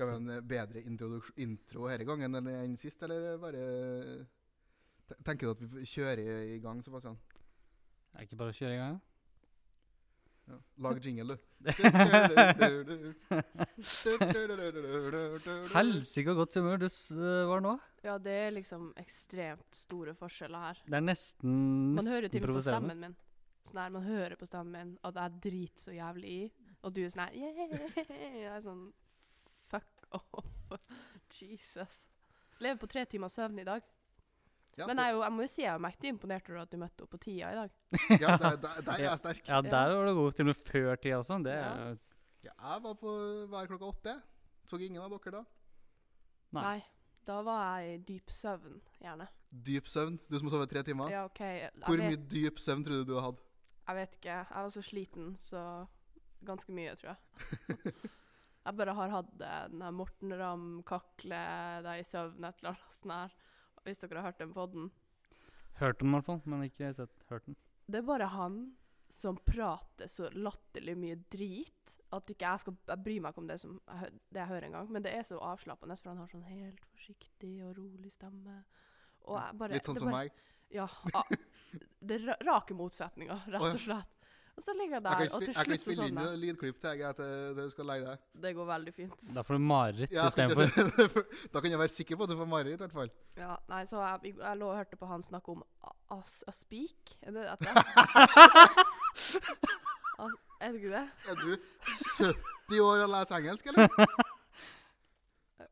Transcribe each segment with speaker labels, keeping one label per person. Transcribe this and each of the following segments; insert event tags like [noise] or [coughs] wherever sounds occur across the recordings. Speaker 1: eh, bedre introduks- intro denne gangen enn enn sist, eller bare eh, Te- Tenker du at vi kjører i- i gang, sånn, Sebastian?
Speaker 2: Er det ikke bare å kjøre i gang?
Speaker 1: Ja. Lag jingle, du.
Speaker 2: Helsike og godt humør du s- eh, var nå.
Speaker 3: Ja, det er liksom ekstremt store forskjeller her.
Speaker 2: Det er nesten,
Speaker 3: Man hører jo
Speaker 2: nesten
Speaker 3: til og med på
Speaker 2: provoserende.
Speaker 3: stemmen min. Sånn her, Man hører på stemmen min at jeg driter så jævlig i, og du er sånn her yeah! Jeg er sånn Fuck off. Jesus. Lever på tre timer søvn i dag.
Speaker 1: Ja,
Speaker 3: Men jeg, er jo, jeg må jo si jeg er mektig imponert over at du møtte opp på tida i dag.
Speaker 1: ja, der, der, der er jeg sterk.
Speaker 2: Ja, der var det god til og med før tida og sånn. Det er
Speaker 3: Ja.
Speaker 2: jo-
Speaker 1: Ja, jeg var på hver klokka åtte. Så ingen av dere da.
Speaker 2: Nei.
Speaker 3: Da var jeg i dyp søvn, gjerne.
Speaker 1: Dyp søvn. Du som har sovet tre timer.
Speaker 3: Ja, OK. Jeg
Speaker 1: Hvor
Speaker 3: vet-
Speaker 1: mye dyp søvn tror du du har hatt?
Speaker 3: Jeg vet ikke. Jeg var så sliten, så ganske mye, tror jeg.
Speaker 1: [laughs]
Speaker 3: jeg bare har hatt eh, den her Morten Ramm kakle deg i søvn et eller annet sånn her. Hvis dere har hørt den podden.
Speaker 2: Hørt den i hvert fall, men ikke sett hørt den.
Speaker 3: Det er bare han som prater så latterlig mye drit at ikke jeg skal jeg bryr meg ikke om det, som jeg, hø- det jeg hører engang. Men det er så avslappende, for han har sånn helt forsiktig og rolig stemme. Og jeg bare,
Speaker 1: Litt sånn
Speaker 3: det
Speaker 1: som
Speaker 3: bare-
Speaker 1: meg.
Speaker 3: Ja. ah, Det er ra- rake motsetninger,
Speaker 1: Å,
Speaker 3: rett
Speaker 1: ja.
Speaker 3: og slett. Og så ligger jeg
Speaker 1: Jeg kan
Speaker 3: der,
Speaker 1: ikke
Speaker 3: og
Speaker 1: spi-
Speaker 3: til
Speaker 1: jeg kan
Speaker 3: slutt
Speaker 1: ikke
Speaker 3: så
Speaker 1: spille inn
Speaker 3: sånn
Speaker 1: noe lydklipp til jeg til til du skal leie deg.
Speaker 3: Det går veldig fint.
Speaker 2: Da får du mareritt
Speaker 1: Ja, jeg skal
Speaker 2: istedenfor.
Speaker 1: ikke si- [laughs] da kan jeg være sikker på at du får mareritt, i hvert fall.
Speaker 3: Ja, nei, så jeg, jeg lå og hørte på han snakke om a- as, aspik. Er det dette? [laughs] As, er det ikke det?
Speaker 1: Er du 70 år og leser engelsk, eller?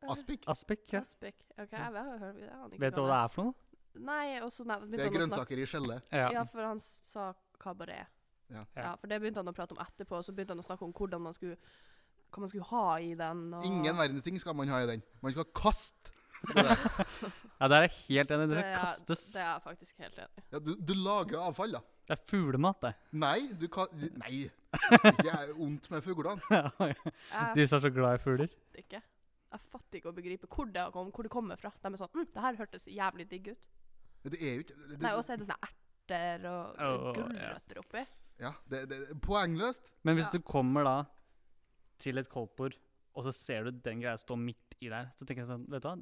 Speaker 1: Aspik?
Speaker 2: Aspek, ja.
Speaker 3: Aspik. OK, jeg vet, jeg, jeg, aner ikke
Speaker 2: Vet du hva det er for noe?
Speaker 3: er? Nei, og så nei,
Speaker 1: Det
Speaker 3: begynte
Speaker 1: er
Speaker 3: han å snakke
Speaker 1: grønnsaker i skjellet.
Speaker 2: Ja.
Speaker 3: Ja, for han sa kabaret.
Speaker 1: Ja.
Speaker 2: Ja.
Speaker 3: ja, for det begynte han å prate om etterpå, og så begynte han å snakke om hvordan man skulle hva man skulle ha i den. Og
Speaker 1: Ingen verdens ting skal man ha i den. Man skal kaste.
Speaker 2: ja, der er jeg helt enig. Det
Speaker 3: Det
Speaker 2: skal
Speaker 3: er-
Speaker 2: kastes.
Speaker 3: Det er jeg faktisk helt enig i.
Speaker 1: Ja, du, du lager jo avfall, da.
Speaker 2: Det er fuglemat, det. [laughs]
Speaker 1: Nei, du kan Nei. Det er ondt med fuglene.
Speaker 2: De
Speaker 3: Jeg
Speaker 2: som er så glad i fugler.
Speaker 3: fatter ikke. Jeg fatter ikke å begripe hvor det, har kommet- hvor det kommer fra. De er sånn mm, 'Det her hørtes jævlig digg ut'.
Speaker 1: Det er jo ikke det,
Speaker 3: Nei, og så er det sånne erter og
Speaker 2: Åh,
Speaker 3: gulrøtter oppi.
Speaker 1: ja, det, det, poengløst.
Speaker 2: Men hvis
Speaker 3: Ja.
Speaker 2: du kommer da til et koldtbord, og så ser du den greia stå midt i der, så tenker jeg sånn Vet du hva,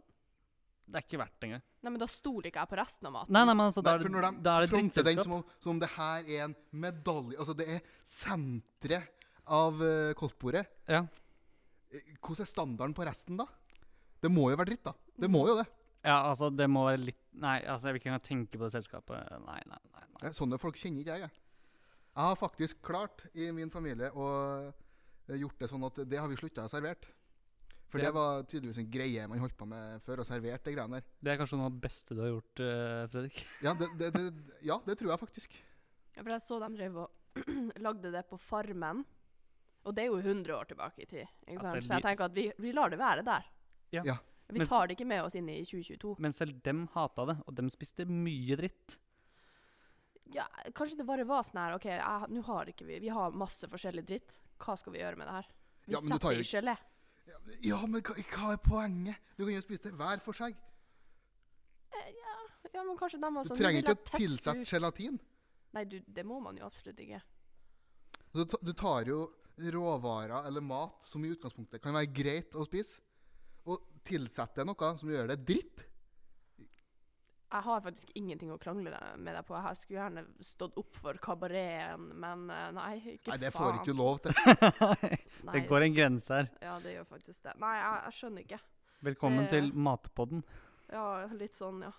Speaker 2: det er ikke verdt det engang.
Speaker 3: Nei, men da stoler ikke jeg på resten av maten.
Speaker 2: Nei, nei, men altså, da
Speaker 1: Nei,
Speaker 2: er
Speaker 1: for
Speaker 2: det,
Speaker 1: når de
Speaker 2: da er det
Speaker 1: fronter den
Speaker 2: drittselskap.
Speaker 1: som om, som om det her er en medalje Altså, det er senteret av uh, koldtbordet.
Speaker 2: Ja.
Speaker 1: Eh, Hvordan er standarden på resten, da? Det må jo være dritt, da. Det må jo det.
Speaker 2: ja, altså, det må være litt Nei, altså, jeg vil ikke engang tenke på det selskapet. Nei, nei, nei. nei.
Speaker 1: Ja, Sånne folk kjenner ikke jeg. jeg. Jeg har faktisk klart i min familie å eh, gjort det sånn at det har vi slutta å servere. For
Speaker 2: Det-
Speaker 1: det var tydeligvis en greie man holdt på med før, og serverte de greiene der.
Speaker 2: Det er kanskje noe av det beste du har gjort, eh, Fredrik.
Speaker 1: Ja det, det, det, ja, det tror jeg faktisk.
Speaker 3: Ja, For jeg så de drev og [clears throat] lagde det på Farmen. Og det er jo 100 år tilbake i tid. Ikke sant?
Speaker 2: Altså,
Speaker 3: Så
Speaker 2: vi-
Speaker 3: jeg tenker at vi, vi lar det være der.
Speaker 2: Ja.
Speaker 1: Ja.
Speaker 3: Vi
Speaker 2: Men-
Speaker 3: tar det ikke med oss inn i 2022.
Speaker 2: Men selv dem hata det, og dem spiste mye
Speaker 3: [laughs]
Speaker 2: dritt.
Speaker 3: Ja, kanskje det bare var sånn her OK, jeg- nå har ikke vi Vi har masse forskjellig dritt. Hva skal vi gjøre med det her? Vi
Speaker 1: Ja, men du tar
Speaker 3: setter
Speaker 1: jo
Speaker 3: i gelé.
Speaker 1: Ja, men- Ja, men hva, hva er poenget? Du kan jo spise det hver for seg.
Speaker 3: Eh, Ja, men kanskje de var
Speaker 1: Du
Speaker 3: sånn
Speaker 1: trenger
Speaker 3: «Vi vil
Speaker 1: ikke
Speaker 3: ha
Speaker 1: å
Speaker 3: test
Speaker 1: tilsette
Speaker 3: ut».
Speaker 1: gelatin.
Speaker 3: Nei, du, det må man jo absolutt ikke.
Speaker 1: Altså, Du, ta- du tar jo råvarer eller mat som i utgangspunktet kan være greit å spise, og tilsetter noe som gjør det dritt.
Speaker 3: Jeg har faktisk ingenting å krangle deg- med deg på. Jeg skulle gjerne stått opp for kabareten, men eh, nei, ikke
Speaker 1: Nei, det
Speaker 3: faen.
Speaker 1: får ikke du lov til.
Speaker 3: Nei,
Speaker 2: Det går en grense her.
Speaker 3: Ja, det gjør faktisk det. Nei, jeg, jeg skjønner ikke.
Speaker 2: Velkommen
Speaker 3: Det-
Speaker 2: til Matpodden.
Speaker 3: Ja, litt sånn, ja.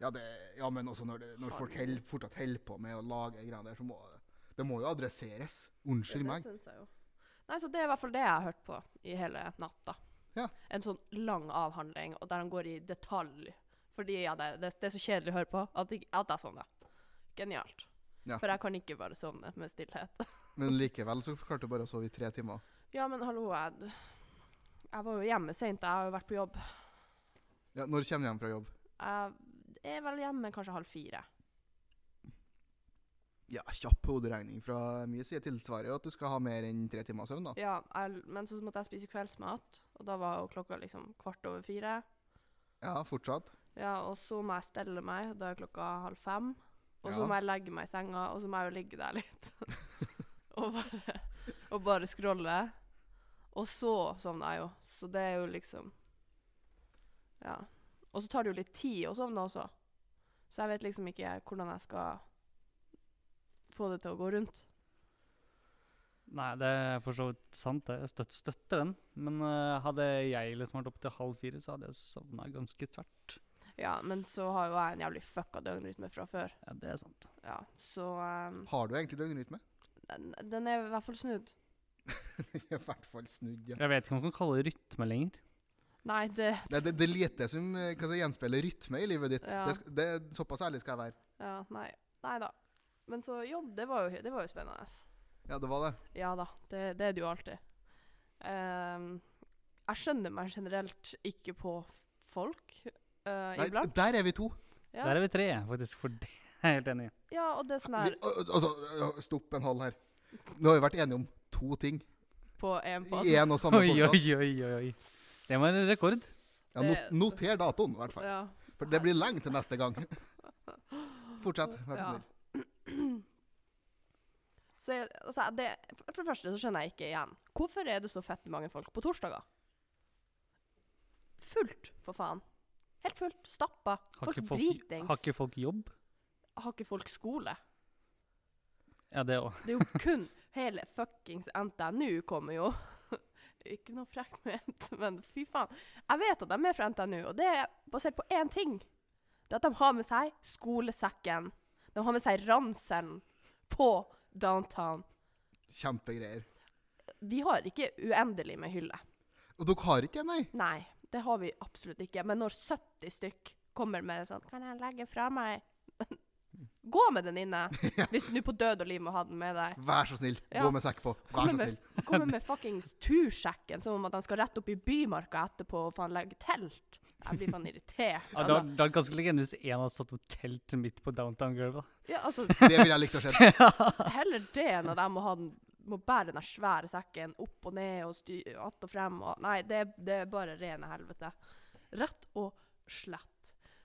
Speaker 1: Ja, det, ja men også når, det, når folk held, fortsatt holder på med å lage greier der, så må det må jo adresseres.
Speaker 3: Ja,
Speaker 1: Unnskyld
Speaker 3: det
Speaker 1: meg.
Speaker 3: syns jeg jo. Nei, så det er i hvert fall det jeg har hørt på i hele natta.
Speaker 1: Ja.
Speaker 3: En sånn lang avhandling, og der han går i detalj. Fordi ja, det, det, det er så kjedelig å høre på at, jeg- at jeg sovner. Genialt.
Speaker 1: Ja.
Speaker 3: For jeg kan ikke bare sovne med stillhet.
Speaker 1: Men likevel så klarte du bare å sove i tre timer.
Speaker 3: ja, men hallo, jeg, jeg var jo hjemme seint. Jeg har jo vært på jobb.
Speaker 1: Ja, når kommer du hjem fra jobb?
Speaker 3: Jeg er vel hjemme kanskje halv fire.
Speaker 1: Ja, Kjapp hoderegning fra min side tilsvarer jo at du skal ha mer enn tre timer søvn. da.
Speaker 3: Ja, jeg, men så måtte jeg spise kveldsmat, og da var jo klokka liksom kvart over fire.
Speaker 1: Ja, fortsatt.
Speaker 3: Ja, og så må jeg stelle meg, da er klokka halv fem. Og så
Speaker 1: Ja.
Speaker 3: må jeg legge meg i senga, og så må jeg jo ligge der litt. [laughs] og, bare, og bare scrolle. Og så sovner jeg jo. Så det er jo liksom Ja. Og så tar det jo litt tid å sovne også. Så jeg vet liksom ikke hvordan jeg skal få det til å gå rundt.
Speaker 2: Nei, det er for så vidt sant, det. Jeg støt, støtter den. Men eh, hadde jeg liksom vært oppe til halv fire, så hadde jeg sovna ganske tvert.
Speaker 3: Ja, men så har jo jeg en jævlig fucka døgnrytme fra før.
Speaker 2: Ja, det er sant.
Speaker 3: Ja, så ehm,
Speaker 1: Har du egentlig døgnrytme? [laughs]
Speaker 3: den, den er i hvert fall snudd.
Speaker 1: I hvert fall snudd, ja.
Speaker 2: Jeg vet ikke om man kan kalle det rytme lenger.
Speaker 3: Nei, det
Speaker 1: Det, det, det er lite som eh, hva skal jeg si, gjenspeiler rytme i livet ditt.
Speaker 3: Ja.
Speaker 1: Det, sk- det, såpass ærlig skal jeg være.
Speaker 3: Ja, nei. Nei da. Men så jobb, det var jo, det var jo spennende.
Speaker 1: Ja, det var det.
Speaker 3: Ja da, det, det er det jo alltid. Ehm, jeg skjønner meg generelt ikke på f- folk eh,
Speaker 1: Nei,
Speaker 3: iblant.
Speaker 1: der er vi to.
Speaker 3: Ja.
Speaker 2: Der er vi tre, faktisk, for det er jeg helt enig i.
Speaker 3: ja, og det er sånn
Speaker 1: Vi,
Speaker 3: her
Speaker 1: al- altså, ø, stopp en halv her. Nå har vi vært enige om to ting
Speaker 3: på en pod.
Speaker 1: i én og samme
Speaker 2: Oi, oi,
Speaker 1: podkast.
Speaker 2: oi, oi, oi. Det var en rekord.
Speaker 1: Ja, not,
Speaker 3: Det-
Speaker 1: noter datoen, i hvert fall.
Speaker 3: Ja.
Speaker 1: For det blir lenge til neste
Speaker 3: [laughs]
Speaker 1: gang. Fortsett, vær så
Speaker 3: Ja.
Speaker 1: snill.
Speaker 3: Så jeg, altså, det, for det første så skjønner jeg ikke igjen. Hvorfor er det så fett mange folk på torsdager? Fullt, for faen. Helt fullt. Stappa.
Speaker 2: Har
Speaker 3: Folk,
Speaker 2: ikke folk,
Speaker 3: dritings.
Speaker 2: har ikke folk jobb?
Speaker 3: har ikke folk skole?
Speaker 2: Ja, det òg.
Speaker 3: Det er jo kun hele fuckings NTNU kommer jo. [laughs] Ikke noe frekt ment, men fy faen. Jeg vet at de er fra NTNU, og det er basert på én ting. Det er at de har med seg skolesekken. De har med seg ranselen på downtown.
Speaker 1: Kjempegreier.
Speaker 3: Vi har ikke uendelig med hylle.
Speaker 1: Og dere har ikke det, nei?
Speaker 3: Nei, det har vi absolutt ikke. Men når 70 stykk kommer med sånn Kan jeg legge fra meg [laughs] Gå med den inne! Hvis du nå på død og liv må ha den med deg.
Speaker 1: Vær så snill,
Speaker 3: Ja.
Speaker 1: gå med sekk på. Vær
Speaker 3: Kommer
Speaker 1: så
Speaker 3: med,
Speaker 1: snill.
Speaker 3: kommer med fuckings tursjekken, som om at de skal rett opp i Bymarka etterpå og faen legge telt. Jeg blir faen irritert. Altså,
Speaker 2: Ja, da, da er det ganske legende hvis én hadde satt opp telt midt på downtown-gulvet.
Speaker 3: ja, altså,
Speaker 1: Det ville jeg likt å se.
Speaker 2: [laughs]
Speaker 3: heller det enn at jeg må, ha den, må bære den der svære sekken opp og ned og sty, att og frem. Og, nei, det, det er bare rene helvete. Rett og slett.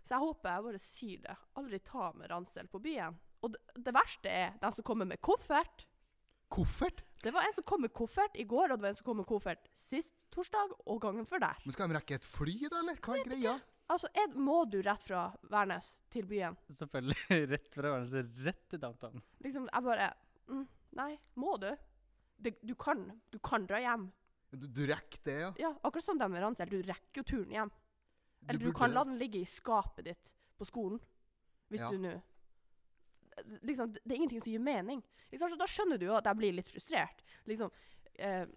Speaker 3: Så jeg håper jeg bare sier det. Aldri ta med ransel på byen. Og det, det verste er den som kommer med koffert.
Speaker 1: Koffert?
Speaker 3: Det var en som kom med koffert i går, og det var en som kom med koffert sist torsdag og gangen før der.
Speaker 1: Men skal de rekke et fly, da, eller? Hva er greia?
Speaker 3: Altså, er, må du rett fra Værnes til byen?
Speaker 2: Selvfølgelig. [laughs] Rett fra Værnes, rett til downtown.
Speaker 3: Liksom, jeg bare mm, Nei, må du? Det, du kan. Du kan dra hjem.
Speaker 1: Du, du rekker det, ja?
Speaker 3: Ja, akkurat som dem med ransel. Du rekker jo turen hjem. Eller du,
Speaker 1: burde
Speaker 3: kan
Speaker 1: det.
Speaker 3: la den ligge i skapet ditt på skolen, hvis
Speaker 1: Ja.
Speaker 3: du nå Liksom, det det er ingenting som gir mening. Ikke sant? Så da skjønner du jo at jeg blir litt frustrert. Liksom, eh,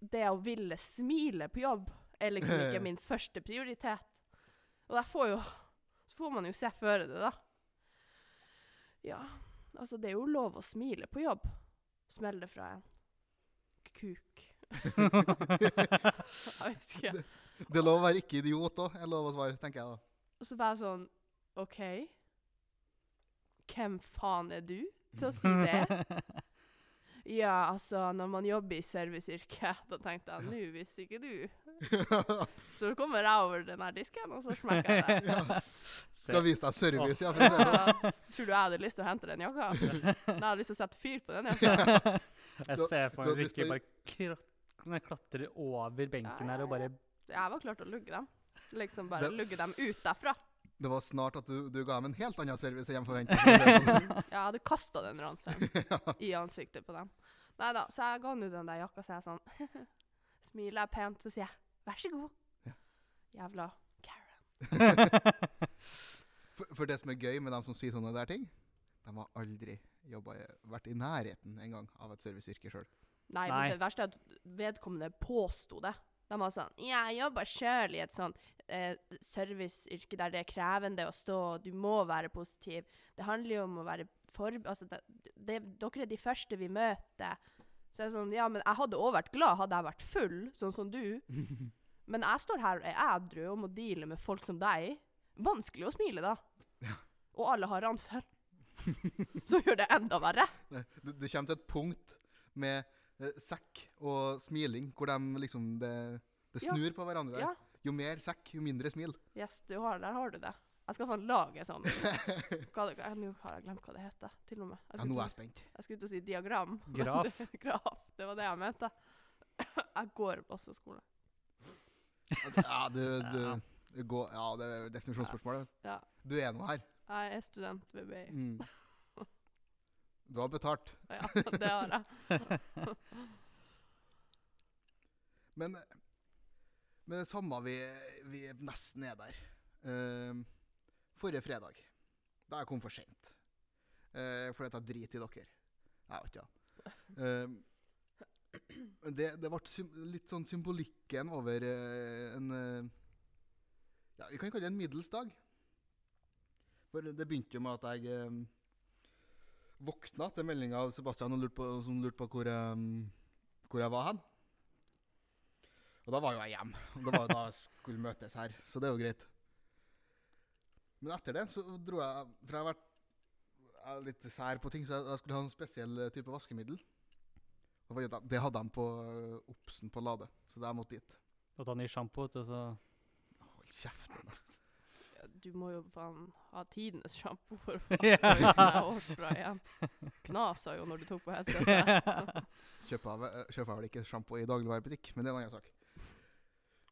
Speaker 3: det å ville smile på jobb er liksom ikke
Speaker 1: [laughs]
Speaker 3: min første prioritet. Og jeg får jo Så får man jo se føre det, da. Ja, altså, det er jo lov å smile på jobb. Smeller det fra en kuk. [laughs] Jeg vet ikke.
Speaker 1: Det er lov å være ikke idiot òg, er lov å svare, tenker jeg da.
Speaker 3: Og så var jeg sånn OK. Hvem faen er du til å [laughs] si det? Ja, altså, når man jobber i serviceyrket, da tenkte jeg nå hvis ikke du Så kommer jeg over den her disken, og så smekker
Speaker 2: [laughs]
Speaker 3: jeg deg.
Speaker 1: [laughs]
Speaker 2: Se.
Speaker 1: Skal vise deg service, ja. For å si det.
Speaker 3: [laughs]
Speaker 1: sånn.
Speaker 3: Ja, tror du jeg hadde lyst til å hente den jakka? Nei, jeg hadde lyst til å sette fyr på den jakka.
Speaker 2: [laughs] Jeg ser for
Speaker 1: da- hvis
Speaker 2: meg
Speaker 1: du-
Speaker 2: virkelig bare krat- nei, klatre over benken her og bare
Speaker 1: [laughs]
Speaker 3: Jeg var klar til å lugge dem. Liksom bare
Speaker 1: Det-
Speaker 3: lugge dem ut derfra.
Speaker 1: Det var snart at du, du ga dem en helt annen service enn forventa. Det sånn.
Speaker 3: Jeg hadde kasta den ranselen i ansiktet på dem. Nei da, så jeg ga nå den der jakka, så jeg sånn [laughs] Smiler jeg pent, så sier jeg 'vær så god'.
Speaker 1: Ja.
Speaker 3: Jævla Karen.
Speaker 1: for, for det som er gøy med dem som sier sånne der ting, de har aldri jobba, vært i nærheten en gang av et serviceyrke sjøl.
Speaker 3: Nei,
Speaker 2: Nei.
Speaker 3: men det verste er at vedkommende påsto det. De var sånn 'Jeg jobber sjøl i et sånt eh, serviceyrke der det er krevende å stå, og du må være positiv'. Det handler jo om å være for... Altså, det, det, dere er de første vi møter. Så jeg er sånn, ja, men jeg hadde også vært glad hadde jeg vært full, sånn som du. Men jeg står her og er ædru og må deale med folk som deg. Vanskelig å smile da. Og alle har [laughs] ransel. Så gjør det enda verre.
Speaker 1: Du, du kommer til et punkt med eh, sekk og smiling hvor de liksom Det, det
Speaker 3: Ja.
Speaker 1: snur på hverandre.
Speaker 3: Ja,
Speaker 1: Jo mer sekk, jo mindre smil. [laughs]
Speaker 3: yes, du har, der har du det. Jeg skal faen lage sånn. Hva, det- hva- nå har jeg glemt hva det heter, til og med. Jeg
Speaker 1: Ja,
Speaker 3: skulle
Speaker 1: nå
Speaker 3: til
Speaker 1: er
Speaker 3: å
Speaker 1: jeg
Speaker 3: [laughs]
Speaker 1: spent.
Speaker 3: Jeg skulle til å si diagram. [laughs] men
Speaker 2: Graf.
Speaker 3: det- Graf, det var det jeg [coughs] mente. Jeg går på også skole.
Speaker 1: Ja, du, du, Gå, ja, det er definisjonsspørsmålet.
Speaker 3: Ja.
Speaker 1: Du er nå her.
Speaker 3: Jeg er student ved BI.
Speaker 1: Mm. Du har betalt.
Speaker 3: Ja, [laughs] det har jeg.
Speaker 1: Men, men det samme vi, vi nesten er der. Ehm, forrige fredag, da jeg kom for sent uh, fordi at jeg driter i dere. Jeg vet ikke, da. Ehm, men det, det ble sym litt sånn symbolikken over eh, en eh, Ja, vi kan kalle det en middels dag. For det begynte jo med at jeg eh, våkna til meldinga av Sebastian og lurte på, som lurte på hvor, eh, hvor jeg var hen. Og da var jo jeg hjemme. Og det var jo da jeg skulle møtes her. Så det er jo greit. Men etter det så dro jeg For jeg har vært jeg er litt sær på ting, så jeg, jeg skulle ha en spesiell eh, type vaskemiddel. Og fant ut at Det hadde de på eh, Obsen på Lade, så jeg måtte dit.
Speaker 2: Og ta ny sjampo, vet du, så
Speaker 1: Hold kjeft.
Speaker 3: Ja, Du må jo faen ha tidenes sjampo for å vaske ut den der hårsprayen. Knasa jo når du tok på headsetet.
Speaker 1: Kjøper jeg, ve- eh, kjøper jeg vel ikke sjampo i dagligvarebutikk, men det er en annen sak.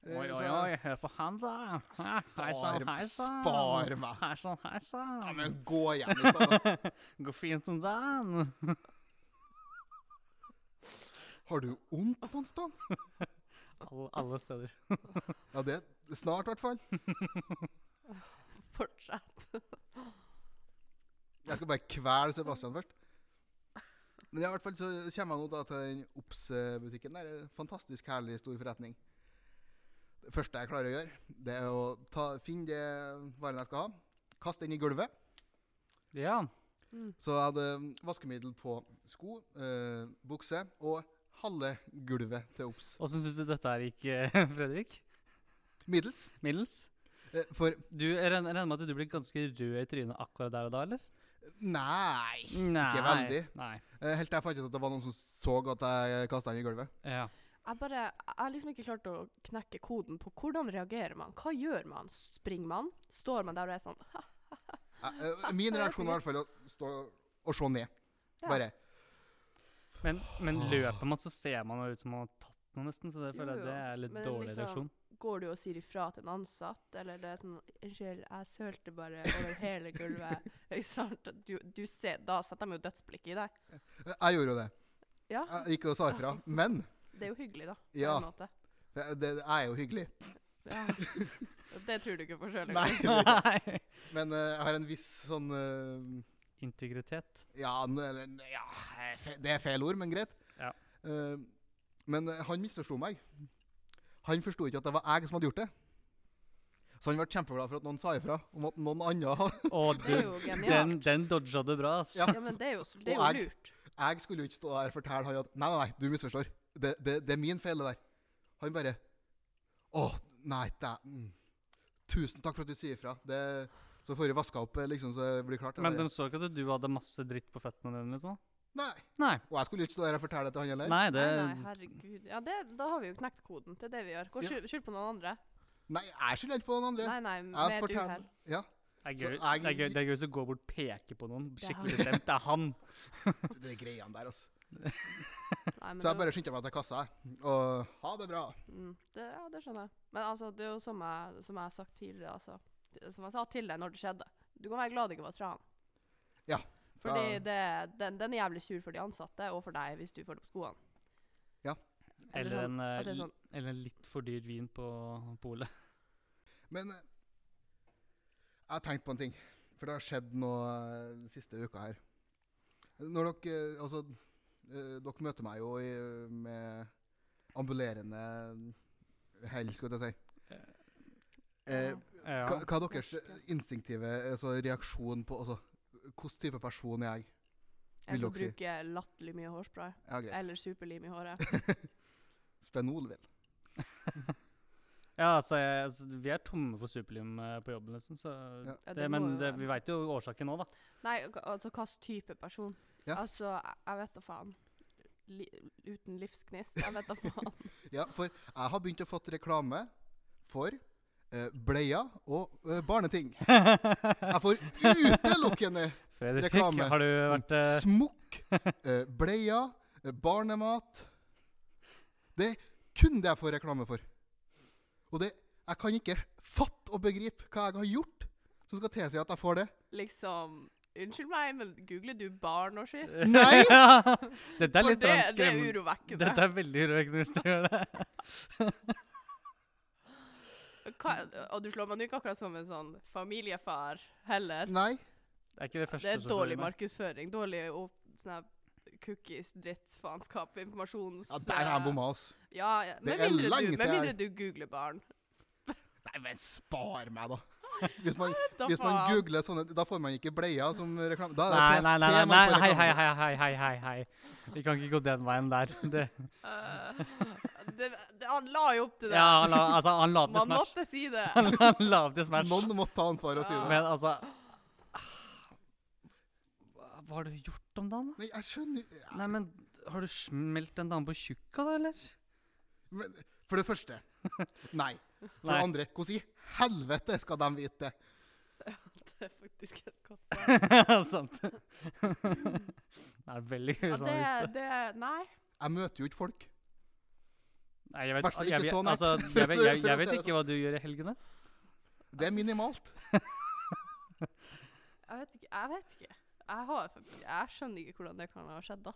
Speaker 1: Eh,
Speaker 2: Oi,
Speaker 1: så
Speaker 2: oi,
Speaker 1: jeg-
Speaker 2: oi, hør på han, da! Hæ, Hei sann,
Speaker 1: Spar-
Speaker 2: hei sann!
Speaker 1: spar meg.
Speaker 2: Hei sann, hei
Speaker 1: Ja,
Speaker 2: sann!
Speaker 1: men gå hjem liksom. i stedet.
Speaker 2: Går fint som dagen!
Speaker 1: Har du vondt, Monstan?
Speaker 2: Alle, alle steder.
Speaker 1: Ja, det snart, i hvert fall.
Speaker 3: Fortsett.
Speaker 1: Jeg skal bare kvele Sebastian først. Men i hvert fall så kommer jeg nå da til den Obs-butikken. Det er en fantastisk herlig stor forretning. Det første jeg klarer å gjøre, det er å ta, finne det varen jeg skal ha, kaste den i gulvet.
Speaker 2: Ja.
Speaker 3: Mm.
Speaker 1: Så jeg hadde vaskemiddel på sko, eh, bukse og halve gulvet til Obs.
Speaker 2: Åssen syns du dette her gikk, eh, Fredrik?
Speaker 1: Middels.
Speaker 2: Middels?
Speaker 1: Eh, for
Speaker 2: Du, jeg regner jeg regner med at du blir ganske rød i trynet akkurat der og da, eller?
Speaker 1: Nei!
Speaker 2: Nei.
Speaker 1: veldig.
Speaker 2: Nei.
Speaker 1: Eh, helt til jeg fant ut at det var noen som så at jeg kasta den i gulvet.
Speaker 2: Ja.
Speaker 3: Jeg bare, jeg har liksom ikke klart å knekke koden på hvordan reagerer man. Hva gjør man? Springer man? Står man der og er sånn «Ha,
Speaker 1: Eh, eh, min reaksjon var i hvert fall å stå og se ned.
Speaker 3: Ja.
Speaker 1: Bare
Speaker 2: Men, men løper man, så ser man jo ut som man har tatt noe, nesten. Så det
Speaker 3: Jo,
Speaker 2: føler
Speaker 3: jo.
Speaker 2: jeg det er litt
Speaker 3: Men
Speaker 2: dårlig
Speaker 3: liksom-
Speaker 2: reaksjon.
Speaker 3: Går du og sier ifra til en ansatt, eller det er sånn 'Unnskyld, jeg sølte bare over hele
Speaker 1: [laughs]
Speaker 3: gulvet'. Ikke sant? Du, du ser, da setter de jo dødsblikk i deg.
Speaker 1: Eh, Jeg gjorde jo det.
Speaker 3: Ja,
Speaker 1: Jeg gikk og sa ifra. Men
Speaker 3: det er jo hyggelig, da. På
Speaker 1: Ja.
Speaker 3: en måte.
Speaker 1: eh, det det er jo hyggelig. [laughs]
Speaker 3: Ja. [laughs] Det tror du ikke på sjøl.
Speaker 1: Nei.
Speaker 2: Nei.
Speaker 1: Men eh, jeg har en viss sånn eh,
Speaker 2: Integritet.
Speaker 1: Ja, n- eller n- ja eh, fe- det er feil ord, men greit.
Speaker 2: Ja.
Speaker 1: Eh, men eh, han misforsto meg. Han forsto ikke at det var jeg som hadde gjort det. Så han ble kjempeglad for at noen sa ifra om at noen andre hadde
Speaker 2: Og
Speaker 3: Det er
Speaker 2: du,
Speaker 3: jo genialt.
Speaker 2: den, den dodga du bra, ass.
Speaker 1: Ja.
Speaker 3: Ja, men det er jo, s- det er
Speaker 1: Og
Speaker 3: jo
Speaker 1: jeg-
Speaker 3: lurt.
Speaker 1: Jeg skulle jo ikke stå der og fortelle han at Nei, nei, nei, du misforstår. Det, det, det er min feil, det der. Han bare Å, nei, det er mm. Tusen takk for at du sier ifra. Det, så får vi vaska opp, eh, liksom, så det blir klart. Jeg
Speaker 2: Men
Speaker 1: bare,
Speaker 2: de så ikke at du hadde masse dritt på føttene dine? liksom?
Speaker 1: Nei.
Speaker 2: Nei.
Speaker 1: Og jeg skulle ikke stå her og fortelle det til han heller.
Speaker 2: Nei, det
Speaker 3: Nei, nei, herregud. Ja, det, da har vi jo knekt koden. Det er det vi gjør. Gå
Speaker 1: Ja.
Speaker 3: skyld, skyld på noen andre.
Speaker 1: Nei, jeg skylder ikke på noen andre.
Speaker 3: Nei, nei, med
Speaker 1: jeg
Speaker 3: et
Speaker 1: forteller-
Speaker 3: uhell.
Speaker 1: Ja,
Speaker 2: er
Speaker 1: Så
Speaker 2: gøy.
Speaker 1: jeg-
Speaker 2: Det er gøy, det er gøy hvis du går bort og peker på noen
Speaker 3: Det er
Speaker 2: skikkelig bestemt. Det er han.
Speaker 1: det er greiene der, altså.
Speaker 3: Nei, men
Speaker 1: Så jeg
Speaker 3: det-
Speaker 1: bare skyndte meg til kassa, jeg. og ha det bra.
Speaker 3: Mm, det, ja, det skjønner jeg. Men altså, det er jo som jeg, som jeg har sagt tidligere, altså. Det- Som jeg sa til deg når det skjedde. Du kan være glad det ikke var tran.
Speaker 1: Ja,
Speaker 3: Fordi
Speaker 1: da-
Speaker 3: det, den, den er jævlig sur for de ansatte, og for deg hvis du får det på skoene. Eller
Speaker 2: Eller
Speaker 3: sånn,
Speaker 2: en,
Speaker 3: at det er
Speaker 2: eh,
Speaker 3: sånn-
Speaker 2: l- eller en litt for dyr vin på
Speaker 1: [laughs]
Speaker 2: polet.
Speaker 1: Men eh, jeg har tenkt på en ting, for det har skjedd noe eh, den siste uka her. Når dere eh, Altså, eh, dere møter meg jo i, med ambulerende hell, skulle jeg til å si. Eh,
Speaker 2: Ja.
Speaker 1: hva, hva er deres instinktive altså, reaksjon på altså, Hvilken type person er jeg?
Speaker 3: En
Speaker 1: vil
Speaker 3: som
Speaker 1: dere si?
Speaker 3: bruker latterlig mye hårspray.
Speaker 1: Ja, greit.
Speaker 3: Eller superlim i håret. [laughs]
Speaker 1: Spenol, vel.
Speaker 2: ja, altså, jeg, altså, vi er tomme for superlim eh, på jobben, liksom. Så
Speaker 1: Ja.
Speaker 3: Ja,
Speaker 2: det,
Speaker 3: må
Speaker 2: men
Speaker 3: jo
Speaker 2: det,
Speaker 3: være-
Speaker 2: vi veit jo årsaken nå, da.
Speaker 3: Nei, ok- altså hvilken type person.
Speaker 1: Ja.
Speaker 3: Altså, jeg, jeg vet da faen. Li, uten livsgnist. Jeg vet da [laughs] faen.
Speaker 1: Ja, for jeg har begynt å fått reklame for eh, bleier og eh, barneting. Jeg får utelukkende
Speaker 2: Fredrik,
Speaker 1: Reklame.
Speaker 2: har du vært eh,
Speaker 1: smokk, eh, bleier, eh, barnemat. Det er kun det jeg får reklame for. Og det, jeg kan ikke fatte og begripe hva jeg har gjort, som skal tilsi at jeg får det.
Speaker 3: Liksom Unnskyld meg, men googler du barn og skitt?
Speaker 2: [laughs]
Speaker 1: Nei!
Speaker 2: Dette er
Speaker 3: For
Speaker 2: litt det,
Speaker 3: det, det er
Speaker 2: skremmende.
Speaker 3: urovekkende.
Speaker 2: Dette er veldig urovekkende hvis du gjør det.
Speaker 3: Hva, og du slår meg nå ikke akkurat som en sånn familiefar heller.
Speaker 1: Nei.
Speaker 2: Det er ikke det første
Speaker 3: Det er
Speaker 2: som slår
Speaker 3: dårlig
Speaker 2: meg.
Speaker 3: markedsføring. Dårlig opp, sånn her cookies, dritt, faenskap, informasjons...
Speaker 1: Ja, der har jeg bomma, altså.
Speaker 3: Ja, ja.
Speaker 1: Det
Speaker 3: Med
Speaker 1: er
Speaker 3: mindre,
Speaker 1: langt
Speaker 3: du, med
Speaker 1: der.
Speaker 3: mindre du googler barn.
Speaker 1: Nei, men spar meg, da. Hvis man,
Speaker 3: Da
Speaker 1: hvis man
Speaker 3: faen.
Speaker 1: googler sånne, da får man ikke bleia som reklame. Da er det
Speaker 2: Nei,
Speaker 1: PST
Speaker 2: nei, nei, nei,
Speaker 1: man
Speaker 2: nei,
Speaker 1: får
Speaker 2: hei,
Speaker 1: reklame
Speaker 2: hei,
Speaker 1: for.
Speaker 2: hei, hei, hei, hei, hei. Vi kan ikke gå den veien der. Det,
Speaker 3: Eh, [laughs] det, det, han la jo opp til [laughs] det.
Speaker 2: ja, han la, altså, han la opp til
Speaker 3: Man
Speaker 2: Smash.
Speaker 3: måtte si
Speaker 1: [laughs]
Speaker 3: det.
Speaker 2: Han la- [laughs] han la opp til Smash.
Speaker 1: Noen måtte ta ansvaret og si det.
Speaker 2: Men altså Hva hva har du gjort om dagen? da?
Speaker 1: Nei, jeg skjønner ja,
Speaker 2: Nei, men har du smelt en dame på tjukka, da, eller?
Speaker 1: men, For det første Nei. For det
Speaker 2: Nei.
Speaker 1: andre, hvordan i helvete skal de vite det?
Speaker 3: Det er faktisk et godt
Speaker 2: [laughs]
Speaker 1: [laughs]
Speaker 2: Sant. Det er veldig sånn
Speaker 3: ja,
Speaker 2: usant.
Speaker 3: det, det, Nei.
Speaker 1: Jeg møter jo ikke folk.
Speaker 2: Nei, jeg vet,
Speaker 1: Hvertfall ikke
Speaker 2: jeg, vet-
Speaker 1: så nært.
Speaker 2: altså, jeg, vet- jeg,
Speaker 1: For å
Speaker 2: jeg
Speaker 1: si
Speaker 2: vet
Speaker 1: det
Speaker 2: ikke hva du gjør i helgene.
Speaker 1: Det er minimalt.
Speaker 3: Jeg vet ikke. Jeg vet ikke. Jeg, har, faktisk- jeg skjønner ikke hvordan det kan ha skjedd, da.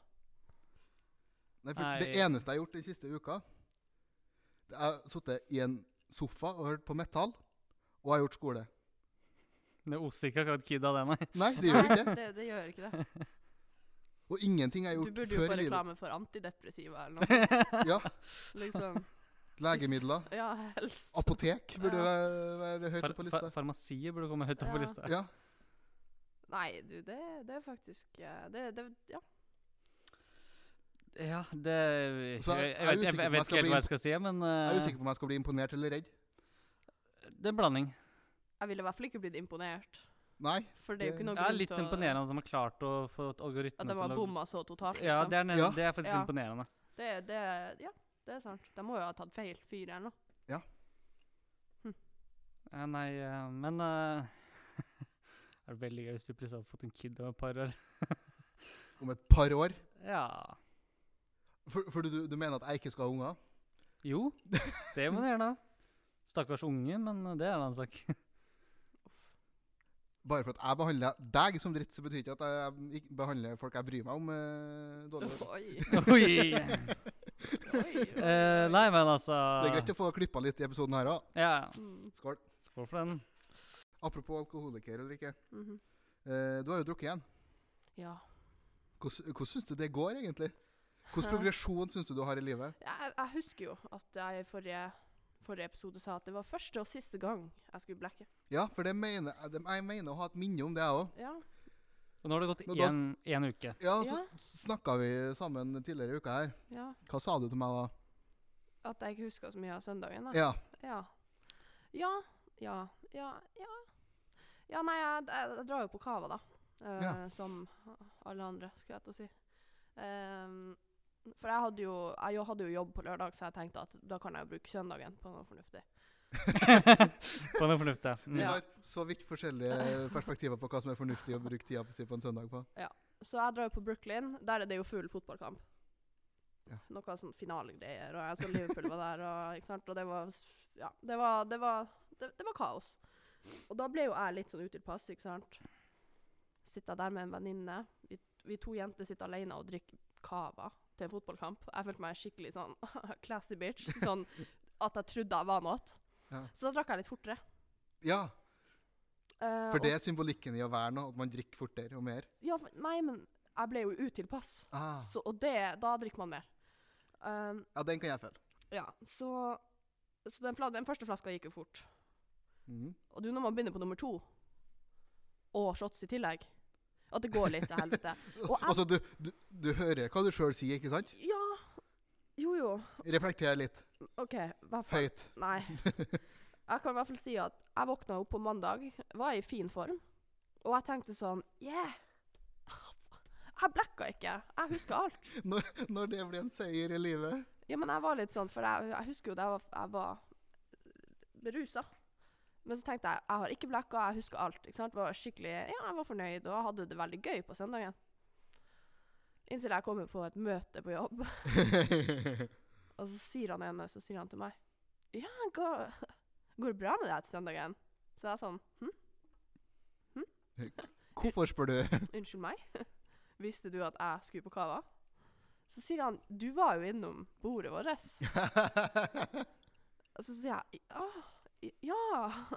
Speaker 1: Nei, for
Speaker 2: Nei.
Speaker 1: Det eneste jeg har gjort den siste uka det er Jeg har sittet i en sofa og hørt på metall, og jeg har gjort skole.
Speaker 2: Det oser ikke akkurat kidda, det, nei.
Speaker 1: Nei, det gjør
Speaker 3: Nei,
Speaker 1: ikke det.
Speaker 3: [laughs] det, det gjør ikke det.
Speaker 1: Og ingenting jeg har
Speaker 3: Du
Speaker 1: gjort
Speaker 3: burde jo
Speaker 1: før
Speaker 3: få
Speaker 1: i livet.
Speaker 3: reklame for antidepressiva eller noe.
Speaker 1: [laughs] Ja,
Speaker 3: Liksom.
Speaker 1: Legemidler.
Speaker 3: Ja, helst.
Speaker 1: Apotek burde
Speaker 3: Ja.
Speaker 1: være, være høyt
Speaker 2: Far,
Speaker 1: oppe på
Speaker 2: far,
Speaker 1: lista.
Speaker 2: farmasiet burde komme høyt opp på
Speaker 3: Ja.
Speaker 2: lista.
Speaker 1: Ja.
Speaker 3: Nei, du, det, det er faktisk eh, det, det, Ja.
Speaker 2: Ja, det Jeg,
Speaker 1: Så jeg-
Speaker 2: jeg,
Speaker 1: jeg er
Speaker 2: vet, jeg,
Speaker 1: usikker på
Speaker 2: jeg
Speaker 1: om
Speaker 2: vet
Speaker 1: jeg skal
Speaker 2: ikke helt
Speaker 1: bli
Speaker 2: hva jeg skal si, men
Speaker 1: Jeg er
Speaker 2: eh,
Speaker 1: usikker på om jeg skal bli imponert eller redd.
Speaker 2: det er en blanding.
Speaker 3: Jeg ville i hvert fall ikke blitt imponert.
Speaker 1: Nei.
Speaker 3: For det er jo ikke noe
Speaker 2: Jeg er
Speaker 3: grunn
Speaker 2: litt
Speaker 3: til å-
Speaker 2: imponerende at de har klart å få et algoritme
Speaker 3: At de har
Speaker 2: å-
Speaker 3: bomma så totalt,
Speaker 2: Ja,
Speaker 3: liksom.
Speaker 2: det er, ned,
Speaker 1: Ja.
Speaker 2: Det er faktisk
Speaker 3: Ja.
Speaker 2: imponerende.
Speaker 3: Det, det, ja, det er sant. De må jo ha tatt feil fyr eller noe.
Speaker 2: Ja, nei, eh, men eh, [laughs] Det er veldig gøy hvis du plutselig hadde fått en kid om et par år.
Speaker 1: Om et par år.
Speaker 2: Ja.
Speaker 1: For, for du, du mener at jeg ikke skal ha unger?
Speaker 2: Jo, det må du gjerne. Stakkars unge, men det er en annen sak.
Speaker 1: Bare for at jeg behandler deg som dritt, så betyr ikke at jeg ikke behandler folk jeg bryr meg om, eh, dårlig.
Speaker 3: Oi,
Speaker 2: [laughs] Oi.
Speaker 3: oi, oi.
Speaker 2: [laughs] Eh, nei, men altså
Speaker 1: Det er greit å få klippa litt i episoden her òg.
Speaker 2: Ja,
Speaker 3: Mm,
Speaker 1: Skål.
Speaker 2: skål for den.
Speaker 1: Apropos alkoholiker, Ulrikke.
Speaker 3: mhm.
Speaker 1: Eh, du har jo drukket igjen.
Speaker 3: Ja.
Speaker 1: Hvordan, hvordan syns du det går, egentlig?
Speaker 3: Ja.
Speaker 1: Hvilken progresjon syns du du har i livet?
Speaker 3: Jeg, jeg husker jo at jeg i forrige, forrige episode sa at det var første og siste gang jeg skulle blekke.
Speaker 1: Ja, for det mener, jeg- det- jeg mener å ha et minne om det, jeg òg.
Speaker 3: Ja.
Speaker 2: Og nå har det gått
Speaker 1: Men da-
Speaker 2: én- én uke.
Speaker 1: [laughs] Ja, så
Speaker 3: Ja.
Speaker 1: snakka vi sammen tidligere i uka her.
Speaker 3: ja.
Speaker 1: Hva sa du til meg da?
Speaker 3: At jeg ikke huska så mye av søndagen. da.
Speaker 1: Ja,
Speaker 3: Ja. Ja, ja, ja, ja. Ja, nei, jeg, jeg, jeg drar jo på Cava, da. Eh,
Speaker 1: Ja.
Speaker 3: Som alle andre, skulle jeg til å si. Ehm, for jeg hadde, jo, jeg jo- hadde jo jobb på lørdag, så jeg tenkte at da kan jeg jo bruke søndagen på noe fornuftig.
Speaker 2: På noe Mm. fornuftig.
Speaker 1: Vi
Speaker 3: Ja.
Speaker 1: har så vidt
Speaker 3: [laughs]
Speaker 1: forskjellige perspektiver på hva som er fornuftig å bruke tida si på en søndag på.
Speaker 3: Så jeg drar jo på Brooklyn. Der er det jo full fotballkamp.
Speaker 1: Ja.
Speaker 3: Noe sånn finalegreier. Og jeg så Liverpool var der, og, ikke sant? og det var s- Ja, det var, det, var, det, det var kaos. Og da ble jo jeg litt sånn utilpass, ikke sant. Sitter der med en venninne. Vi, vi to jenter sitter alene og drikker cava til en fotballkamp. Jeg følte meg skikkelig sånn [laughs] classy bitch. Sånn at jeg trodde jeg var noe.
Speaker 1: Ja.
Speaker 3: Så da drakk jeg litt fortere.
Speaker 1: Ja,
Speaker 3: Eh,
Speaker 1: for
Speaker 3: og
Speaker 1: det er symbolikken i å være noe, at man drikker fortere og mer.
Speaker 3: Ja, for- nei, men jeg ble jo utilpass.
Speaker 1: Ah.
Speaker 3: Så, og det, da drikker man mer. Um,
Speaker 1: Ja, den kan jeg føle.
Speaker 3: ja, så, så den, fla- den første flaska gikk jo fort.
Speaker 1: Mhm.
Speaker 3: Og du, når man begynner på nummer to, og shots i tillegg, at det går litt til helvete. Og jeg-
Speaker 1: Altså, du, du, du hører hva du sjøl sier, ikke sant?
Speaker 3: Ja, jo jo,
Speaker 1: Reflekter litt.
Speaker 3: ok, hva faen?
Speaker 1: Høyt.
Speaker 3: Nei. Jeg kan i hvert fall si at jeg våkna opp på mandag, var i fin form, og jeg tenkte sånn, yeah, Ah, jeg blekka ikke, jeg husker alt.
Speaker 1: Når, [laughs] når det blir en seier i livet.
Speaker 3: Ja, men jeg var litt sånn, for jeg, jeg husker jo da jeg var, jeg var berusa. Men så tenkte jeg jeg har ikke blacka, jeg husker alt. ikke sant? Var skikkelig, ja, Jeg var fornøyd og hadde det veldig gøy på søndagen. Inntil jeg kommer på et møte på jobb, [laughs] og så sier han ene så sier han til meg Ja, hva, Går [laughs] det bra med deg til søndagen? Så jeg er sånn hm?
Speaker 1: [laughs] Hvorfor spør du?
Speaker 3: Unnskyld meg, [laughs] visste du at jeg skulle på kava? Så sier han, du var jo innom bordet vårt. Og så sier jeg, ja, ja,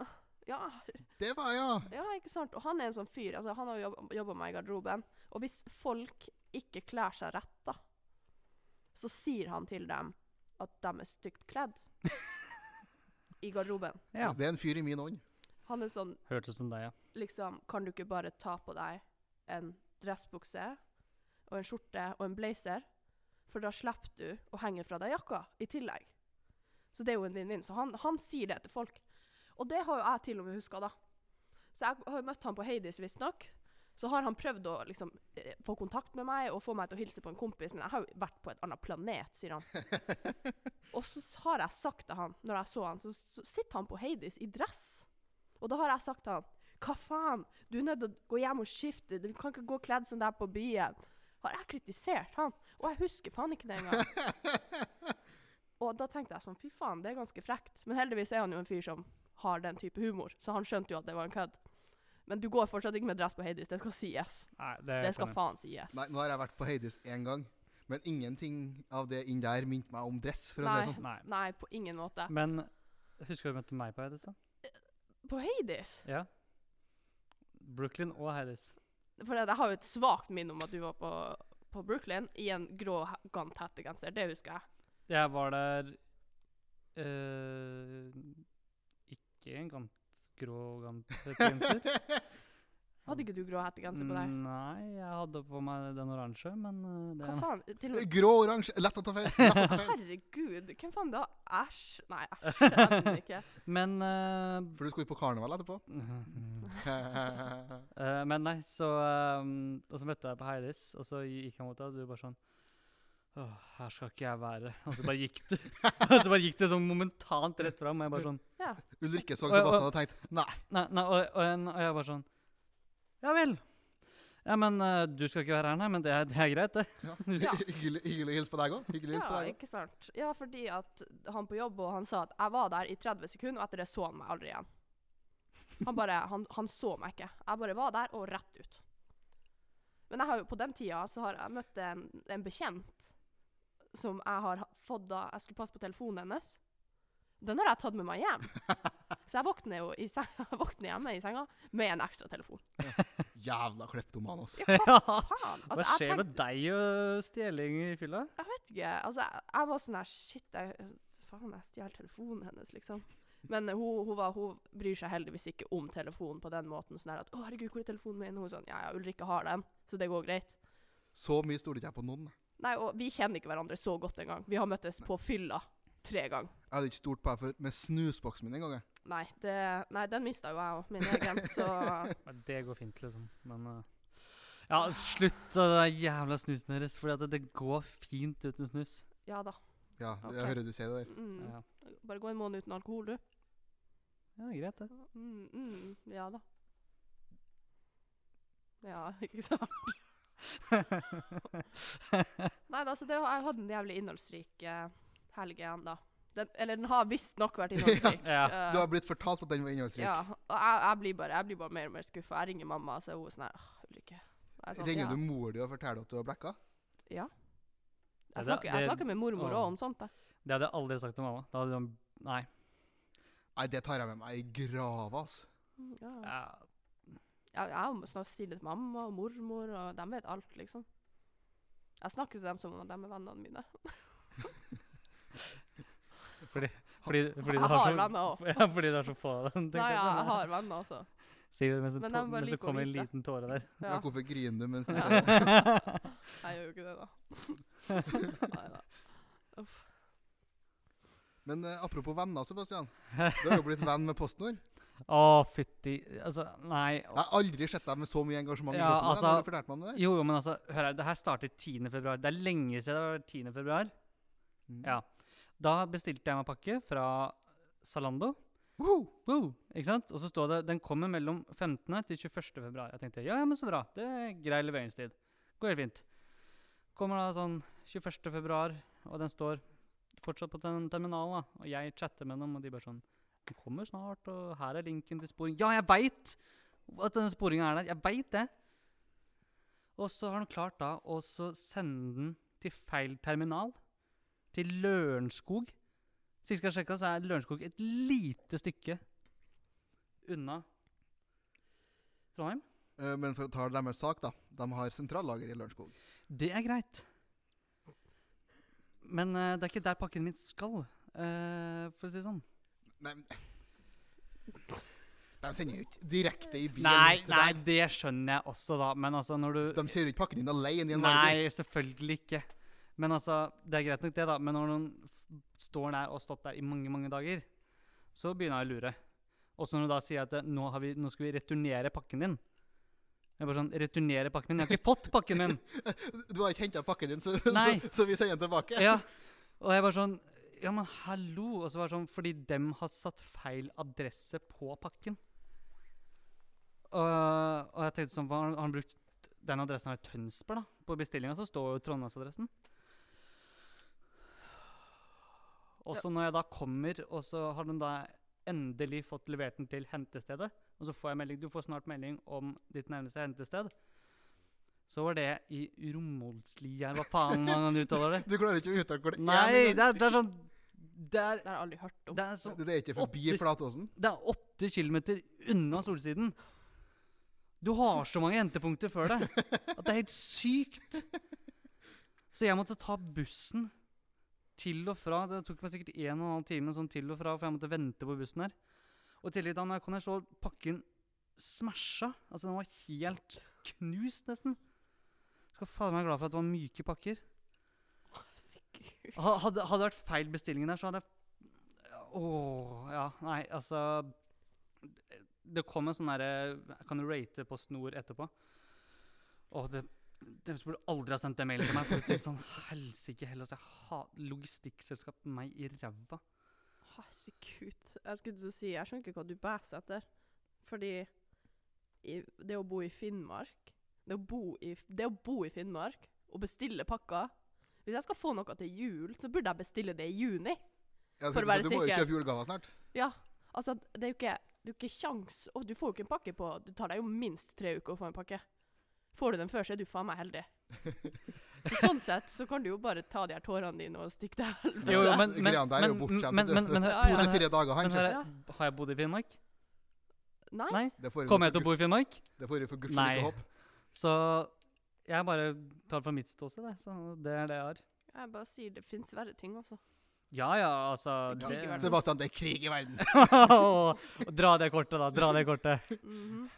Speaker 3: [laughs] ja,
Speaker 1: [laughs] det var ja.
Speaker 3: ja, ikke sant? Og han er en sånn fyr, altså han har jo jobb- jobbet meg i garderoben. Og hvis folk ikke klær seg rett da, så sier han til dem at de er stygt kledd i garderoben.
Speaker 2: Ja.
Speaker 1: Det er en fyr i min ånd.
Speaker 3: Han er sånn,
Speaker 2: Hørtes ut som deg, ja.
Speaker 3: liksom, kan du ikke bare ta på deg en dressbukse og en skjorte og en blazer, for da slipper du å henge fra deg jakka i tillegg. Så det er jo en vinn-vinn. Så han, han sier det til folk. Og det har jo jeg til og med huska, da. Så jeg har jo møtt han på Heidis, visstnok. Så har han prøvd å liksom, eh, få kontakt med meg og få meg til å hilse på en kompis, men jeg har jo vært på et annet planet, sier han. og så s- har jeg sagt til han, når jeg så han, så, så sitter han på Heidis i dress. Og da har jeg sagt til han hva faen, du er nødt til å gå hjem og skifte, du kan ikke gå kledd som deg på byen. Har jeg kritisert han? Og jeg husker faen ikke det engang.
Speaker 2: [laughs]
Speaker 3: og da tenkte jeg sånn, fy faen, det er ganske frekt. Men heldigvis er han jo en fyr som har den type humor, så han skjønte jo at det var en kødd. Men du går fortsatt ikke med dress på Heidis, det skal sies.
Speaker 2: Nei, det,
Speaker 3: Det
Speaker 2: kan
Speaker 3: skal
Speaker 2: jeg-
Speaker 3: faen sies.
Speaker 1: Nei, nå har jeg vært på Heidis én gang, men ingenting av det inn der minte meg om dress. for å si det sånn.
Speaker 2: Nei.
Speaker 3: Nei, på ingen måte.
Speaker 2: Men husker du møtte meg på Heidis? da?
Speaker 3: På Heidis?
Speaker 2: Ja. Brooklyn og Heidis.
Speaker 3: For jeg har jo et svagt minne om at du var på, på Brooklyn i en grå he- gant hettegenser, det husker jeg.
Speaker 2: Jeg var der eh, Ikke en gant grå
Speaker 3: [laughs]
Speaker 2: gant genser.
Speaker 1: sånn.
Speaker 3: Hadde ikke du grå hettegenser på deg?
Speaker 2: Nei, jeg hadde på meg den oransje, men eh, Mm, det
Speaker 3: Hva faen? Til og med
Speaker 1: [laughs] Grå og oransje. Lett å ta feil. Lett å ta feil.
Speaker 3: Herregud, hvem faen da? Æsj. Nei,
Speaker 2: [laughs]
Speaker 3: æsj. [laughs] det er den ikke.
Speaker 2: Men eh, [laughs]
Speaker 1: For du skulle på karneval etterpå. [laughs]
Speaker 2: Eh, men nei, så ehm, Og så møtte jeg på Heidis, og så gikk han mot deg, og du bare sånn Åh, her skal ikke jeg være. Og så bare gikk du.
Speaker 3: [laughs]
Speaker 2: [laughs] og så bare gikk du sånn momentant rett fram, og jeg bare sånn
Speaker 1: Ulrikke så
Speaker 2: Og- og-
Speaker 1: Sebastian og tenkte nei.
Speaker 2: Nei, nei og, og, en- og jeg bare sånn Ja vel. Ja, men eh, du skal ikke være her, nei, men det er, det er greit, det. [laughs]
Speaker 1: Ja.
Speaker 3: Ja.
Speaker 1: [laughs] Hyggelig, hyggelig å hilse på deg òg. Hyggelig å hilse
Speaker 3: Ja,
Speaker 1: på deg òg.
Speaker 3: ikke sant. Ja, fordi at han på jobb og han sa at jeg var der i 30 sekunder, og etter det så han meg aldri igjen. Han bare, han, han så meg ikke. Jeg bare var der og rett ut. Men jeg har jo, på den tida så har jeg møtt en, en bekjent som jeg har ha- fått da jeg skulle passe på telefonen hennes. Den har jeg tatt med
Speaker 2: [laughs]
Speaker 3: meg hjem. Så jeg våkner jo i seng, [laughs] jeg våkner hjemme i senga med en ekstra telefon.
Speaker 1: Jævla kleptoman, altså.
Speaker 3: Ja, hva faen? Altså,
Speaker 2: Hva
Speaker 3: jeg
Speaker 2: skjer
Speaker 3: tenkte-
Speaker 2: med deg og stjeling i fylla?
Speaker 3: Jeg vet ikke. Altså, jeg, jeg var sånn her Shit, jeg, faen, jeg stjal telefonen hennes, liksom. Men eh, hun, hun, var, hun bryr seg heldigvis ikke om telefonen på den måten. Sånn her at 'Å, herregud, hvor er telefonen min?' Hun er sånn 'Ja, ja, Ulrikke har den, så det går greit'.
Speaker 1: Så mye stoler ikke jeg på noen. Jeg
Speaker 3: Nei, og vi kjenner ikke hverandre så godt engang. Vi har møttes på fylla tre ganger.
Speaker 1: hadde ikke stolt på deg før med snusboksen min en gang. jeg.
Speaker 3: Nei, det, nei, den mista jo jeg òg, min egen, så
Speaker 2: Ja, Det går fint, liksom. Men eh, Ja, slutt av det der jævla snusen deres, for det, det går fint uten snus.
Speaker 3: Ja da.
Speaker 1: Ja,
Speaker 3: Ok.
Speaker 1: jeg hører du sier det der.
Speaker 3: Mm.
Speaker 2: Ja,
Speaker 3: Bare gå en måned uten alkohol, du.
Speaker 2: ja greit, det.
Speaker 3: Mm, mm, ja da. Ja, [laughs] ikke sant? Nei, altså det, har- jeg hadde en jævlig innholdsrik eh, helg igjen, da. Den, eller den har visstnok
Speaker 1: [laughs]
Speaker 3: vært innholdsrik.
Speaker 2: [laughs] Ja,
Speaker 3: Eh,
Speaker 1: Du har blitt fortalt at den var innholdsrik.
Speaker 3: ja, og jeg, jeg, blir bare, jeg blir bare mer og mer skuffa. Jeg ringer mamma, så er hun sånn her «Åh, Ulrikke. Jeg er sånn,
Speaker 1: Ringer
Speaker 3: ja.
Speaker 1: du mor di og forteller at du har blekka?
Speaker 3: Ja.
Speaker 2: Ja,
Speaker 3: Jeg
Speaker 2: det-
Speaker 3: snakker, jeg
Speaker 2: det-
Speaker 3: snakker med mormor
Speaker 2: åh.
Speaker 3: òg om sånt. Jeg.
Speaker 2: Det hadde jeg aldri sagt til mamma. Da hadde hun Nei.
Speaker 1: Nei, det tar jeg med meg i grava, altså.
Speaker 3: Mm, Ja.
Speaker 2: Ja,
Speaker 3: Jeg, jeg må snart si det til mamma og mormor, og de vet alt, liksom. Jeg snakker til dem som om de er vennene mine.
Speaker 2: [laughs] fordi, fordi, fordi
Speaker 3: Jeg
Speaker 2: det
Speaker 3: har
Speaker 2: så,
Speaker 3: venner
Speaker 2: [laughs]
Speaker 3: også.
Speaker 2: Ja, fordi det er så få av dem.
Speaker 3: Nei, ja, jeg har venner, altså.
Speaker 2: Sier du mens, det
Speaker 3: Men
Speaker 2: tå-
Speaker 3: jeg må bare
Speaker 2: mens det
Speaker 3: like å
Speaker 2: kommer en
Speaker 3: vite.
Speaker 2: liten tåre der.
Speaker 1: Ja.
Speaker 3: Ja.
Speaker 1: hvorfor griner du mens du
Speaker 2: [laughs]
Speaker 3: Ja.
Speaker 1: sier det?
Speaker 3: Jeg gjør jo ikke det, da.
Speaker 2: [laughs]
Speaker 3: Neida. Uff.
Speaker 1: Men eh, apropos venner, Sebastian. Du har jo blitt venn med
Speaker 2: [laughs]
Speaker 1: PostNord.
Speaker 2: Å, fytti Altså, nei.
Speaker 1: Jeg har aldri sett deg med så mye engasjement. i
Speaker 2: Ja,
Speaker 1: gruppen der,
Speaker 2: altså-
Speaker 1: når du fortalte meg om det der.
Speaker 2: Jo, jo, men altså, hør her. Det her startet 10. februar. Det er lenge siden det var 10. februar.
Speaker 1: Mm.
Speaker 2: Ja. Da bestilte jeg meg pakke fra Zalando.
Speaker 1: Woho!
Speaker 2: Wow, ikke sant? Og så står det den kommer mellom 15. til 21. februar. Jeg tenkte ja, ja, men så bra. Det er grei leveringstid. Går helt fint. Kommer da sånn 21. februar, og den står fortsatt på den terminalen. da. Og jeg chatter med dem, og de bare sånn Den kommer snart, og her er linken til sporing. Ja, jeg veit at denne sporinga er der! Jeg veit det! Og så har han klart da å så sende den til feil terminal. Til Lørenskog. Sist jeg sjekka, så er Lørenskog et lite stykke unna Trondheim.
Speaker 1: Eh, Men for å ta deres sak, da. De har sentrallager i Lørenskog.
Speaker 2: Det er greit. Men eh, det er ikke der pakken min skal, eh, for å si det sånn.
Speaker 1: Nei,
Speaker 2: [laughs]
Speaker 1: men- de sender jo ikke direkte i bilen
Speaker 2: Nei,
Speaker 1: til
Speaker 2: nei,
Speaker 1: deg.
Speaker 2: det skjønner jeg også, da. Men altså, når du
Speaker 1: De kjører jo ikke pakken din alene i en varebil.
Speaker 2: Nei, selvfølgelig ikke. Men altså, det er greit nok det, da. Men når noen f- står der og har stått der i mange, mange dager, så begynner jeg å lure. Og så når du da sier at eh, nå, har vi, nå skal vi returnere pakken din. Jeg er bare sånn, returnere pakken min? Jeg har ikke fått pakken min!
Speaker 1: Du har ikke henta pakken din, så,
Speaker 2: Nei.
Speaker 1: så, så vi sender den tilbake.
Speaker 2: Ja. Og jeg bare sånn Ja, men hallo! Og så var det sånn Fordi dem har satt feil adresse på pakken. Og, og jeg tenkte sånn hva Har han brukt den adressen her i Tønsberg, da? På bestillinga så står jo Trondheimsadressen. Og så når jeg da kommer, og så har den da endelig fått levert den til hentestedet, og så får jeg melding Du får snart melding om ditt nærmeste hentested. Så var det i Romoldslia, eller hva faen man uttaler det.
Speaker 1: Du klarer ikke å uttale hvor det
Speaker 2: Nei,
Speaker 1: er.
Speaker 2: det er, det er sånn Det er,
Speaker 3: Det har jeg aldri hørt om.
Speaker 2: det er, sånn,
Speaker 1: Det er ikke forbi
Speaker 2: Åtte-
Speaker 1: Flatåsen.
Speaker 2: det er åtte kilometer unna solsiden. Du har så mange hentepunkter før deg at det er helt sykt. Så jeg måtte ta bussen til og fra. Det tok meg sikkert en og en halv time sånn til og fra, for jeg måtte vente på bussen her. Og i tillegg da når jeg kom her, så var pakken smasha. Altså, den var helt knust, nesten. Skal faen meg være glad for at det var myke pakker. Ha- Hadde, hadde det vært feil bestillingen der, så hadde jeg Åh, ja. Nei, altså det- Det kom en sånn derre Kan du rate på snor etterpå? Åh, det de burde aldri ha sendt den mailen til meg. For å si det sånn, Helsike heller. Altså, jeg ha, logistikkselskap meg i ræva.
Speaker 3: Herregud. Jeg skulle til å si, jeg skjønner ikke hva du bæser etter. Fordi i, det å bo i Finnmark det å, bo i, det å bo i Finnmark og bestille pakker Hvis jeg skal få noe til jul, så burde jeg bestille det i juni.
Speaker 1: Jeg
Speaker 3: For å
Speaker 1: skulle
Speaker 3: være
Speaker 1: si, du må jo
Speaker 3: sikker.
Speaker 1: kjøpe julegaver snart.
Speaker 3: Ja, altså det er jo ikke Det er jo ikke kjangs Å, du får jo ikke en pakke på Det tar deg jo minst tre uker å få en pakke. Får du den før, så er du faen meg heldig. Så sånn sett så kan du jo bare ta de her tårene dine og stikke til helvete.
Speaker 2: Jo, jo, men, men,
Speaker 1: Greiene der er jo
Speaker 2: men,
Speaker 1: bortskjemt,
Speaker 2: men,
Speaker 1: vet
Speaker 2: men,
Speaker 1: du.
Speaker 2: men,
Speaker 3: Ja,
Speaker 2: hør-
Speaker 3: ja.
Speaker 2: men, hør-
Speaker 1: To-fire dager, han
Speaker 2: men hør
Speaker 1: kjøper.
Speaker 2: her, Har jeg bodd i Finnmark?
Speaker 3: Nei.
Speaker 2: Nei?
Speaker 1: Det får vi
Speaker 2: Kommer jeg
Speaker 1: for
Speaker 2: til å bo i Finnmark?
Speaker 1: guds- Det får vi for guds skyld
Speaker 2: Nei.
Speaker 1: ikke håpe.
Speaker 2: Så jeg bare tar det fra mitt ståsted, jeg, så det er det jeg har.
Speaker 3: Jeg bare sier det fins verre ting, altså.
Speaker 2: Ja ja, altså
Speaker 3: Det kan ikke være noe.
Speaker 1: Sebastian, det er krig i verden.
Speaker 2: [laughs] Åh, dra det kortet, da. Dra det kortet.
Speaker 3: Mhm.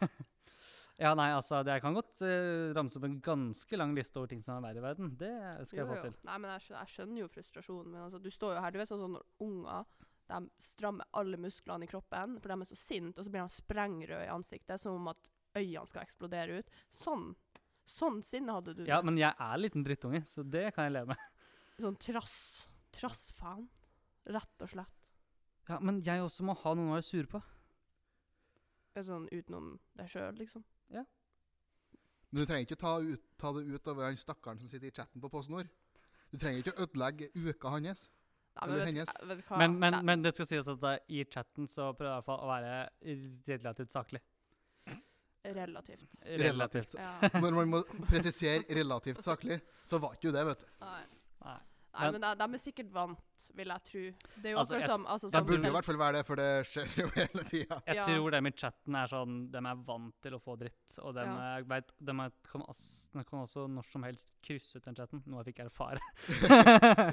Speaker 2: Ja, nei, altså, det, Jeg kan godt eh, ramse opp en ganske lang liste over ting som er verre i verden. Det skal jeg
Speaker 3: Jo,
Speaker 2: få
Speaker 3: jo.
Speaker 2: til.
Speaker 3: Nei, men jeg skjønner, jeg skjønner jo frustrasjonen. Men altså, du står jo her, du vet sånn som når unger de strammer alle musklene i kroppen, for de er så sinte, og så blir de sprengrøde i ansiktet, som om at øynene skal eksplodere ut. Sånn. Sånn sinne hadde du.
Speaker 2: Ja, Men jeg er en liten drittunge, så det kan jeg leve med.
Speaker 3: Sånn trass. Trassfan. Rett og slett.
Speaker 2: [laughs] Ja, Men jeg også må ha noen å være sur på.
Speaker 3: Det er Sånn utenom deg sjøl, liksom.
Speaker 1: Men du trenger ikke ta, ut, ta det ut over han stakkaren som sitter i chatten på PostNord. Du trenger ikke å ødelegge uka hans.
Speaker 3: Nei,
Speaker 1: Eller
Speaker 3: vet,
Speaker 1: hennes.
Speaker 3: eh, vet du hva?
Speaker 2: Men, men,
Speaker 3: Nei,
Speaker 2: men det skal sies at eh, i chatten så prøver jeg i hvert fall å være relativt saklig.
Speaker 1: [laughs]
Speaker 3: Relativt.
Speaker 1: Relativt.
Speaker 3: Ja.
Speaker 1: Når man må presisere relativt saklig, så var ikke jo det, vet du.
Speaker 3: Nei.
Speaker 2: Nei.
Speaker 3: Nei,
Speaker 2: Men-
Speaker 3: men de, de er sikkert vant, vil jeg tro. Det er jo
Speaker 2: Altså,
Speaker 3: akkurat
Speaker 2: jeg-
Speaker 3: som altså,
Speaker 1: Det
Speaker 3: som-
Speaker 1: burde jo i hvert fall være det, for det skjer jo hele tida.
Speaker 2: Jeg
Speaker 3: Ja.
Speaker 2: tror dem i chatten er sånn De er vant til å få dritt. Og de,
Speaker 3: Ja.
Speaker 2: vet, dem er, kan, as- dem kan også når som helst krysse ut den chatten, noe jeg fikk [laughs] erfare.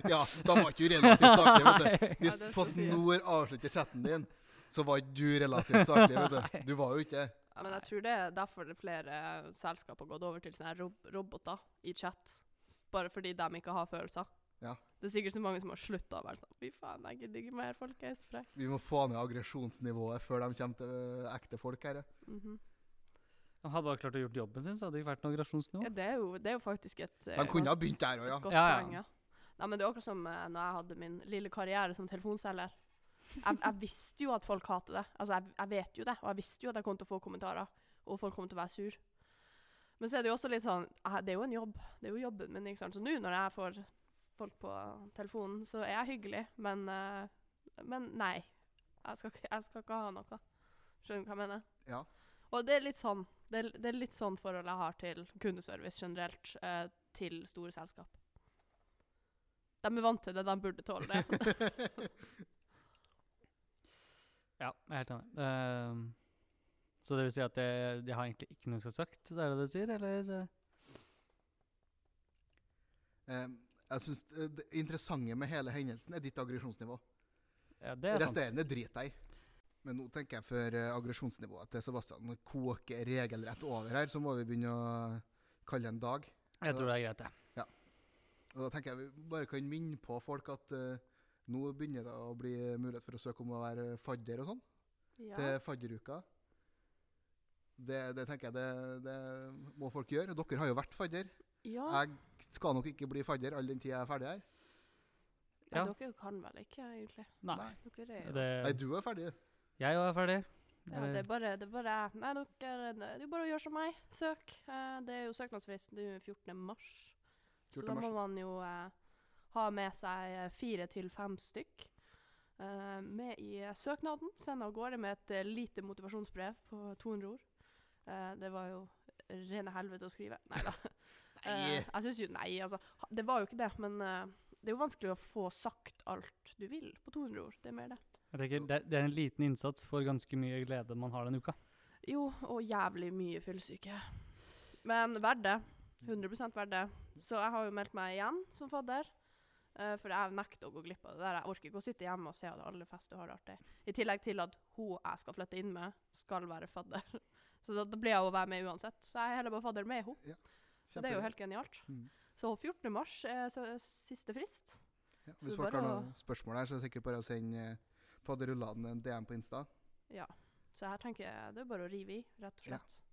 Speaker 1: Ja, da var ikke du relativt saklig, vet du.
Speaker 3: Ja,
Speaker 1: Hvis
Speaker 3: det skal jeg si.
Speaker 1: PostNord avslutter chatten din, så var ikke du relativt saklig, vet du. Du var jo ikke det.
Speaker 3: Ja, men jeg tror det er derfor det er flere eh, selskap har gått over til sånne her rob roboter i chat. S- Bare fordi de ikke har følelser.
Speaker 1: Ja.
Speaker 3: Det er sikkert så mange som har slutta å være sånn Fy faen, jeg gidder ikke mer, folkens. For jeg.
Speaker 1: Vi må få ned aggresjonsnivået før de kommer til øh, ekte folk her. ja.
Speaker 3: Mhm.
Speaker 2: De hadde bare klart å gjort jobben sin, så hadde det ikke vært noe
Speaker 3: ja,
Speaker 2: aggresjonsnivå.
Speaker 3: det, er jo, det er jo faktisk et eh,
Speaker 1: De kunne ha
Speaker 3: ganske
Speaker 1: begynt der òg, ja.
Speaker 3: godt
Speaker 2: Ja, ja.
Speaker 3: poeng, ja. Nei, men det er akkurat som eh, når jeg hadde min lille karriere som telefonselger. Jeg, jeg visste jo at folk hater det. Altså, jeg, jeg vet jo det, og jeg visste jo at jeg kom til å få kommentarer. Og folk kom til å være sur. Men så er det jo også litt sånn eh, Det er jo en jobb. Det er jo jobben min. ikke sant? Så nå når jeg får folk på telefonen, så er jeg hyggelig, men eh, Men nei. Jeg skal, ikke- jeg skal ikke ha noe. Skjønner du hva jeg mener?
Speaker 1: Ja.
Speaker 3: Og det er litt sånn det er, det er litt sånn forhold jeg har til kundeservice generelt, eh, til store selskap. De er vant til det, de burde tåle
Speaker 1: [laughs]
Speaker 3: det.
Speaker 2: Ja, jeg er helt enig. Ehm, så det vil si at jeg, jeg har egentlig ikke noe jeg skal ha sagt? Det er det du sier, eller? eh?
Speaker 1: [laughs] Eh, jeg synes eh, Det interessante med hele hendelsen er ditt aggresjonsnivå.
Speaker 2: Ja, det er sant.
Speaker 1: Resterende driter jeg i. Men nå tenker jeg for eh, aggresjonsnivået til Sebastian koker regelrett over her, så må vi begynne å kalle det en dag.
Speaker 2: Jeg tror det er greit, jeg.
Speaker 1: Og da tenker jeg vi bare kan minne på folk at eh, nå begynner det å bli mulighet for å søke om å være fadder og sånn, til fadderuka. Det, det tenker jeg det, det må folk gjøre. Dere har jo vært fadder.
Speaker 3: Ja,
Speaker 1: Jeg skal nok ikke bli fadder all den tid jeg er ferdig her.
Speaker 2: Ja.
Speaker 3: Nei, dere kan vel ikke, egentlig.
Speaker 2: Nei.
Speaker 3: Dere er jo
Speaker 2: Det,
Speaker 1: Nei, du er
Speaker 3: Eh,
Speaker 1: ferdig.
Speaker 2: jeg òg er ferdig.
Speaker 3: ja, det, er bare, det er bare jeg. Nei, dere Det er jo bare å gjøre som meg. Søk. Eh, det er jo søknadsfrist nå 14. mars. Så
Speaker 1: 14.
Speaker 3: da må
Speaker 1: mars.
Speaker 3: man jo eh, ha med seg eh, fire til fem stykk eh, med i eh, søknaden. Send av gårde med et eh, lite motivasjonsbrev på 200 ord. Eh, det var jo rene helvete å skrive. Nei
Speaker 1: [laughs]
Speaker 3: da. Eh,
Speaker 1: Nei.
Speaker 3: jeg syns jo Nei, altså. ha- Det var jo ikke det, men eh, det er jo vanskelig å få sagt alt du vil på 200 ord. Det er mer det.
Speaker 2: Jeg tenker, det, det er en liten innsats for ganske mye glede man har den uka.
Speaker 3: Jo, og jævlig mye fyllesyke. Men verdt det. 100 verdt det. Så jeg har jo meldt meg igjen som fadder. eh, for jeg nekter å gå glipp av det der. Jeg orker ikke å sitte hjemme og se at alle fester og har det artig. I tillegg til at hun jeg skal flytte inn med, skal være fadder. [laughs] Så da, da blir jeg å være med uansett. Så jeg er heller bare fadder med henne. Så det er jo helt genialt.
Speaker 1: Mm.
Speaker 3: Så 14. mars er så, siste frist.
Speaker 1: Ja,
Speaker 3: Så
Speaker 1: hvis
Speaker 3: det er
Speaker 1: folk har
Speaker 3: bare
Speaker 1: noen spørsmål her, så er det sikkert bare å sende eh, Fader Ullan en DM på Insta.
Speaker 3: Så her tenker jeg det er bare å rive i, rett og
Speaker 1: Ja.
Speaker 3: slett.